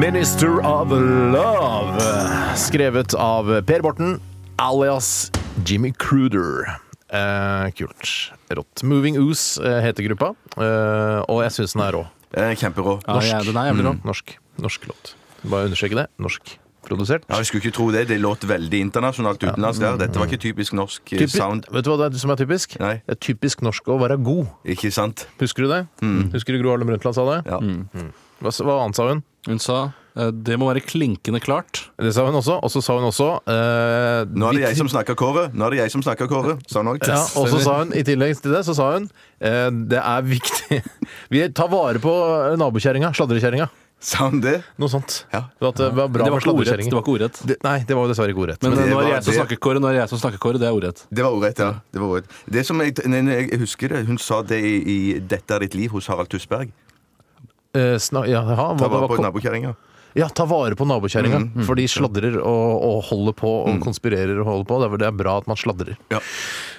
'Minister of Love', skrevet av Per Borten alias Jimmy Cruder. Eh, kult. Rått. Moving Ooze eh, heter gruppa, eh, og jeg syns den er rå. Eh, Kjemperå. Ja, ja, den er jævlig rå. Mm, norsk. Norsk låt. Bare understreke det. Norsk produsert. Ja, jeg skulle ikke tro det. Det låt veldig internasjonalt utenlands der. Dette var Mm. ikke typisk norsk eh, Typi- sound. Vet du hva det er som er typisk? Nei. Det er typisk norsk å være god. Ikke sant? Husker du det? Husker du Gro Harlem Brundtland sa det? Mm. Ja. Mm. Hva, s- hva annet sa hun? Hun sa eh, det må være klinkende klart. Det sa hun også. Og så sa hun også eh, Nå er vi det jeg som snakker, Kåre. Nå er det jeg som snakker, Kåre. Sa han også. Ja, og så sa hun, I tillegg til det så sa hun eh, det er viktig Vi tar vare på eh, nabokjerringa, sladrekjerringa. Sa han det? Noe sånt. Ja. For at det var bra Det var med ikke ordrett. sladrekjerringer. Det var ikke ordrett. Det- Nei, det var jo dessverre ikke ordrett. Men, Men, det eh, nå er var det jeg som det- snakker, Kåre. Nå er det jeg som snakker, Kåre. Det er ordrett. Det var ordrett, ja. Det var ordrett. Det som jeg, nei, nei, jeg husker det, Hun sa det i, i 'Dette er ditt liv' hos Harald Tusberg. eh, sna ja, jaha, hva, Ta det vare var på ko- nabokjerringa. ja, ta vare på nabokjerringa. For de sladrer og, og holder på og konspirerer og holder på. Derfor det er bra at man sladrer. Ja.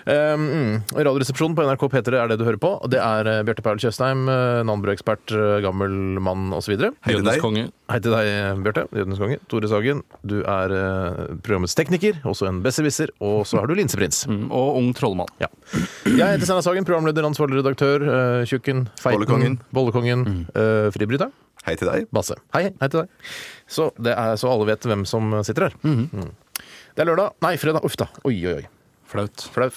Um, mm. Radioresepsjonen på NRK P3 er det du hører på. Og Det er eh, Bjarte Paul Tjøstheim, eh, navnebrødekspert, eh, gammel mann osv. Hei til Jødenes deg. konge. Hei til deg, Bjarte. Jødenes konge. Tore Sagen, du er eh, programmets tekniker, også en besserwisser, og så har du linseprins. Mm, Og ung trollmann. Ja. Jeg heter Steinar Sagen, programleder, ansvarlig redaktør, eh, tjukken, feiten, Bollekongen. bollekongen eh, fribryteren, Hei til Mm, deg. Basse. Hei, hei, hei til deg. Så, det er, så alle vet hvem som sitter her. Mm. Det er lørdag. Nei, fredag. Uff da. Oi, oi, oi. Flaut. Flaut.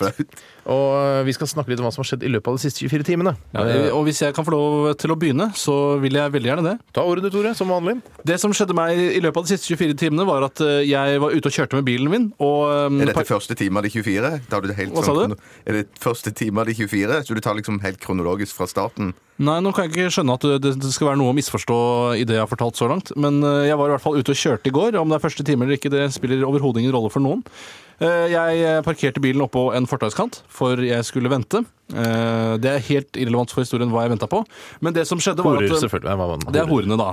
Og eh, vi skal snakke litt om hva som har skjedd i løpet av de siste 24 timene. Ja, Eh, og hvis jeg kan få lov til å begynne, så vil jeg veldig gjerne det. Ta ordet du, Tore, som vanlig. Det som skjedde meg i løpet av de siste 24 timene, var at eh, jeg var ute og kjørte med bilen min, og Er eh, dette første time av de 24? Da har du det helt Hva sa sånn du? krono- Er det første time av de 24? Så du tar liksom helt kronologisk fra starten? Nei, nå kan jeg ikke skjønne at det det skal være noe å misforstå i det jeg har fortalt så langt, men eh, jeg var i hvert fall ute og kjørte i går. Om det er første time eller ikke, det spiller overhodet ingen rolle for noen. Eh, Jeg eh, parkerte bilen oppå en fortauskant, for jeg skulle vente. Eh, Det er helt irrelevant for historien hva jeg venta på, men det som skjedde, var Horer, at eh, selvfølgelig. Nei, hva- Det er horene, da.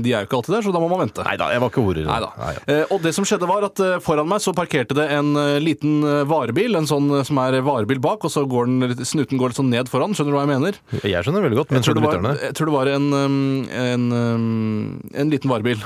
De er jo ikke alltid der, så da må man vente. Nei da, jeg var ikke horer. Neida. Nei, ja. Eh, og det som skjedde var at eh, foran meg så parkerte det en eh, liten eh, varebil, en sånn eh, som er varebil bak, og så går den, litt- snuten går litt sånn ned foran, skjønner du hva jeg mener? Jeg skjønner veldig godt, men Jeg skjønner tror, det var, lytterne? jeg tror det var en, um, en, um, en liten varebil.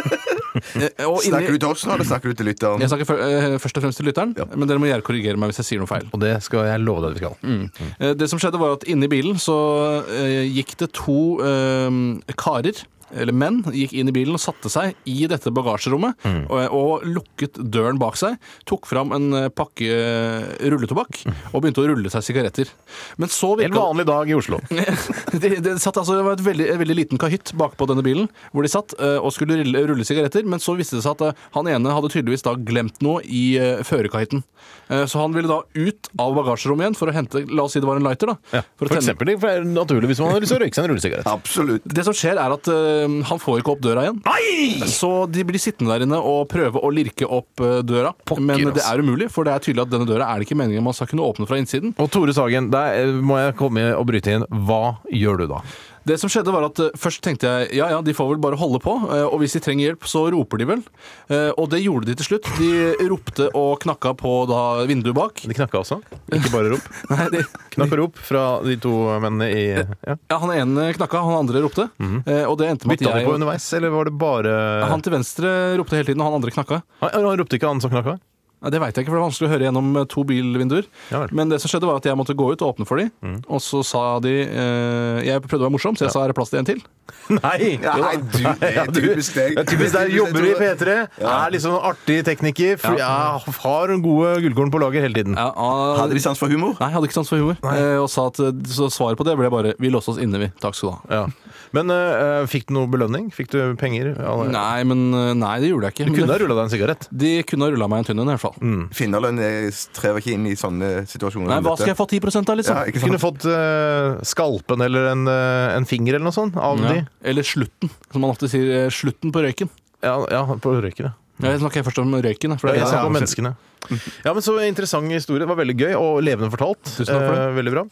Eh, og inni- Snakker du til oss nå, eller snakker du til lytteren? jeg snakker fø- eh, først og fremst til lytteren, men dere må gjerne korrigere meg hvis jeg sier noe feil. Og det skal jeg love deg at vi skal. Eh, Det som skjedde var at inni bilen så eh, gikk det to eh, karer eller menn gikk inn i bilen og satte seg i dette bagasjerommet Mm. og, og lukket døren bak seg, tok fram en eh, pakke eh, rulletobakk Mm. og begynte å rulle seg sigaretter. Men så virket- En vanlig dag i Oslo. de, de satt altså, det var et veldig, en veldig liten kahytt bakpå denne bilen, hvor de satt eh, og skulle rulle, rulle sigaretter, men så viste det seg at eh, han ene hadde tydeligvis da glemt noe i uh, førerkahytten. Eh, så han ville da ut av bagasjerommet igjen for å hente La oss si det var en lighter, da. Ja, for å for, tenne- eksempel, for det er naturlig hvis man har lyst til å røyke seg en rullesigarett. Absolutt. Det som skjer, er at eh, han får ikke opp døra igjen. Så de blir sittende der inne og prøve å lirke opp eh, døra. Pokker, men det altså. er umulig, for det er tydelig at denne døra er det ikke meningen man skal kunne åpne fra innsiden. Og Tore Sagen, der eh, må jeg komme og bryte inn. Hva gjør du da? Det som skjedde var at eh, Først tenkte jeg ja ja, de får vel bare holde på. eh, Og hvis de trenger hjelp, så roper de vel. Eh, Og det gjorde de til slutt. De ropte og knakka på da vinduet bak. De knakka også. Ikke bare rop. Nei, de, Knakk og rop fra de to mennene i ja. ja, Han ene knakka, han andre ropte. Eh, Og det endte med Mhm. Bytta at de på jeg underveis, eller var det bare Han Han, til venstre ropte hele tiden, og han andre knakka. han ropte ikke, han som knakka? Nei, Det veit jeg ikke, for det er vanskelig å høre gjennom eh, to bilvinduer. Ja vel. Mhm. Men det som skjedde var at jeg måtte gå ut og åpne for de, og så sa de eh, Jeg prøvde å være morsom, så jeg sa er det plass til en til? Nei! Ja, nei, du, det Ja, er du- typisk deg. Ja, typisk der jobber du i P3, er liksom en artig tekniker, for, ja, har gode gullkorn på lager hele tiden. Ja, ah, Hadde vi sans for humor? Nei, jeg hadde ikke sans for humor. Eh, og sa at, eh, så svaret på det ble bare 'vi låste oss inne, vi'. Takk skal du ha. Ja. Men eh, fikk du noe belønning? Fikk du penger? Ja, det- Nei, men eh, nei, det gjorde jeg ikke. Du Men kunne ha Mm, det, rulla deg en sigarett. de kunne ha rulla meg en tynn en, i hvert fall. Finnerlønn eh, strever ikke inn i sånne situasjoner. Nei, hva skal jeg få 10 av, liksom? Ja, ikke Du kunne sant? fått eh, skalpen eller en, eh, en finger eller noe sånt av Ja. de. Eller slutten, som man ofte sier. eh, Slutten på røyken. Ja, ja, på røyken, ja. Ja, Jeg snakker først om røyken. For det Jeg er det snakker som- om menneskene. Ja, men Så interessant historie. Det var veldig gøy og levende fortalt. Tusen takk for det. Eh, veldig bra.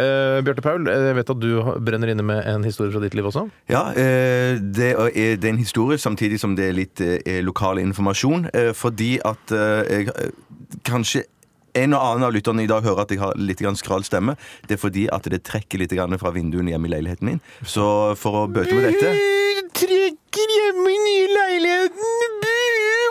Eh, Bjarte Paul, eh, jeg vet at du har- brenner inne med en historie fra ditt liv også. Ja, eh, det er det er en historie samtidig som det er litt eh, er lokal informasjon. eh, Fordi at eh, jeg eh, kanskje en og annen av lytterne i dag hører at jeg har litt grann skral stemme. Det er fordi at det trekker litt grann fra vinduene hjemme i leiligheten min. Så for å bøte på dette Eh, Trekker ikke hjemme i nye leiligheten! Bu!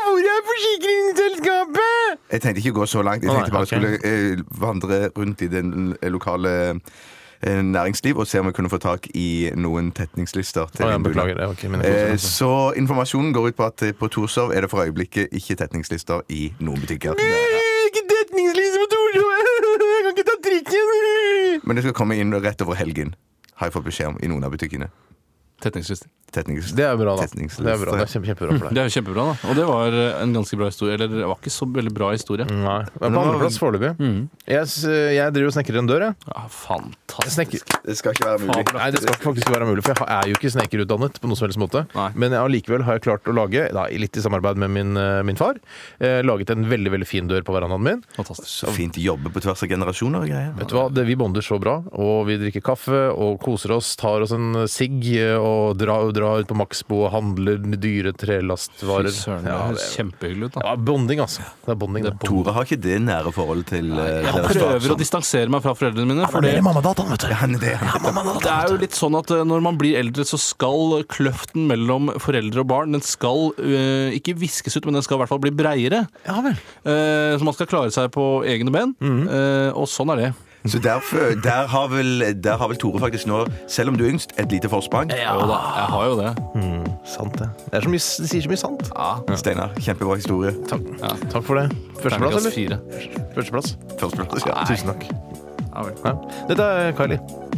Hvor er forsikringsselskapet? Jeg tenkte ikke å gå så langt. Jeg Å, nei, tenkte bare ok. jeg skulle eh, vandre rundt i det lokale eh, næringsliv og se om jeg kunne få tak i noen tetningslister. til Å, ja, vinduene. beklager, det var ikke mine Eh, forsikringer. Så informasjonen går ut på at eh, på Torshov er det for øyeblikket ikke tetningslister i noen butikker. Eh, Ikke tetningslise på Torshov! Jeg kan ikke ta trikken! Men det skal komme inn rett over helgen, har jeg fått beskjed om i noen av butikkene. Tetningslister. Tetningslister. Det er bra, da. Tetningslister. Det er bra, det er kjempe, kjempebra for deg. Det er jo kjempebra, da. Og det var eh, en ganske bra historie. Eller det var ikke så veldig bra historie. Nei. Jeg er på andreplass foreløpig. Jeg, s- jeg driver og snekrer en dør, jeg. Mm. Ja, jeg fantastisk. snekker. Det skal ikke være mulig. Fabelaktig. Nei, det skal faktisk ikke være mulig, for jeg er jo ikke snekerutdannet på noen som helst måte. Nei. Men jeg har likevel har jeg klart å lage, da, litt i samarbeid med min, eh, min far, eh, laget en veldig veldig fin dør på verandaen min. Fantastisk. Så fint jobbe på tvers av generasjoner og greier. Vet du hva, det, Vi bonder så bra, og vi drikker kaffe og koser oss. Tar oss en sigg eh, og drar, drar ut på Maxbo og handler dyre Fy trelastvarer. søren, det ja, høres det, kjempehyggelig ut, da. ja, bonding, altså. Det er bonding, det. Tore har ikke det nære forholdet til eh, Jeg deres far prøver å som- distansere meg fra foreldrene mine. For det, mammadatteren, vet du. Han er det. det er jo litt sånn at eh, når man blir eldre, så skal kløften mellom foreldre og barn Den skal eh, ikke viskes ut, men den skal i hvert fall bli breiere. Ja vel. Eh, så man skal klare seg på egne ben. Eh, og sånn er det. Så derfor, der, har vel, der har vel Tore faktisk nå, selv om du er yngst, et lite forsprang. Jo da, jeg har jo det. Sant, det. Det, er så mye, det sier så mye sant. Steinar, kjempebra historie. Takk, takk for det. Førsteplass, Terningkast eller? fire. Førsteplass. Førsteplass, ja. Tusen takk. Ja vel. Ja. Dette er Kylie.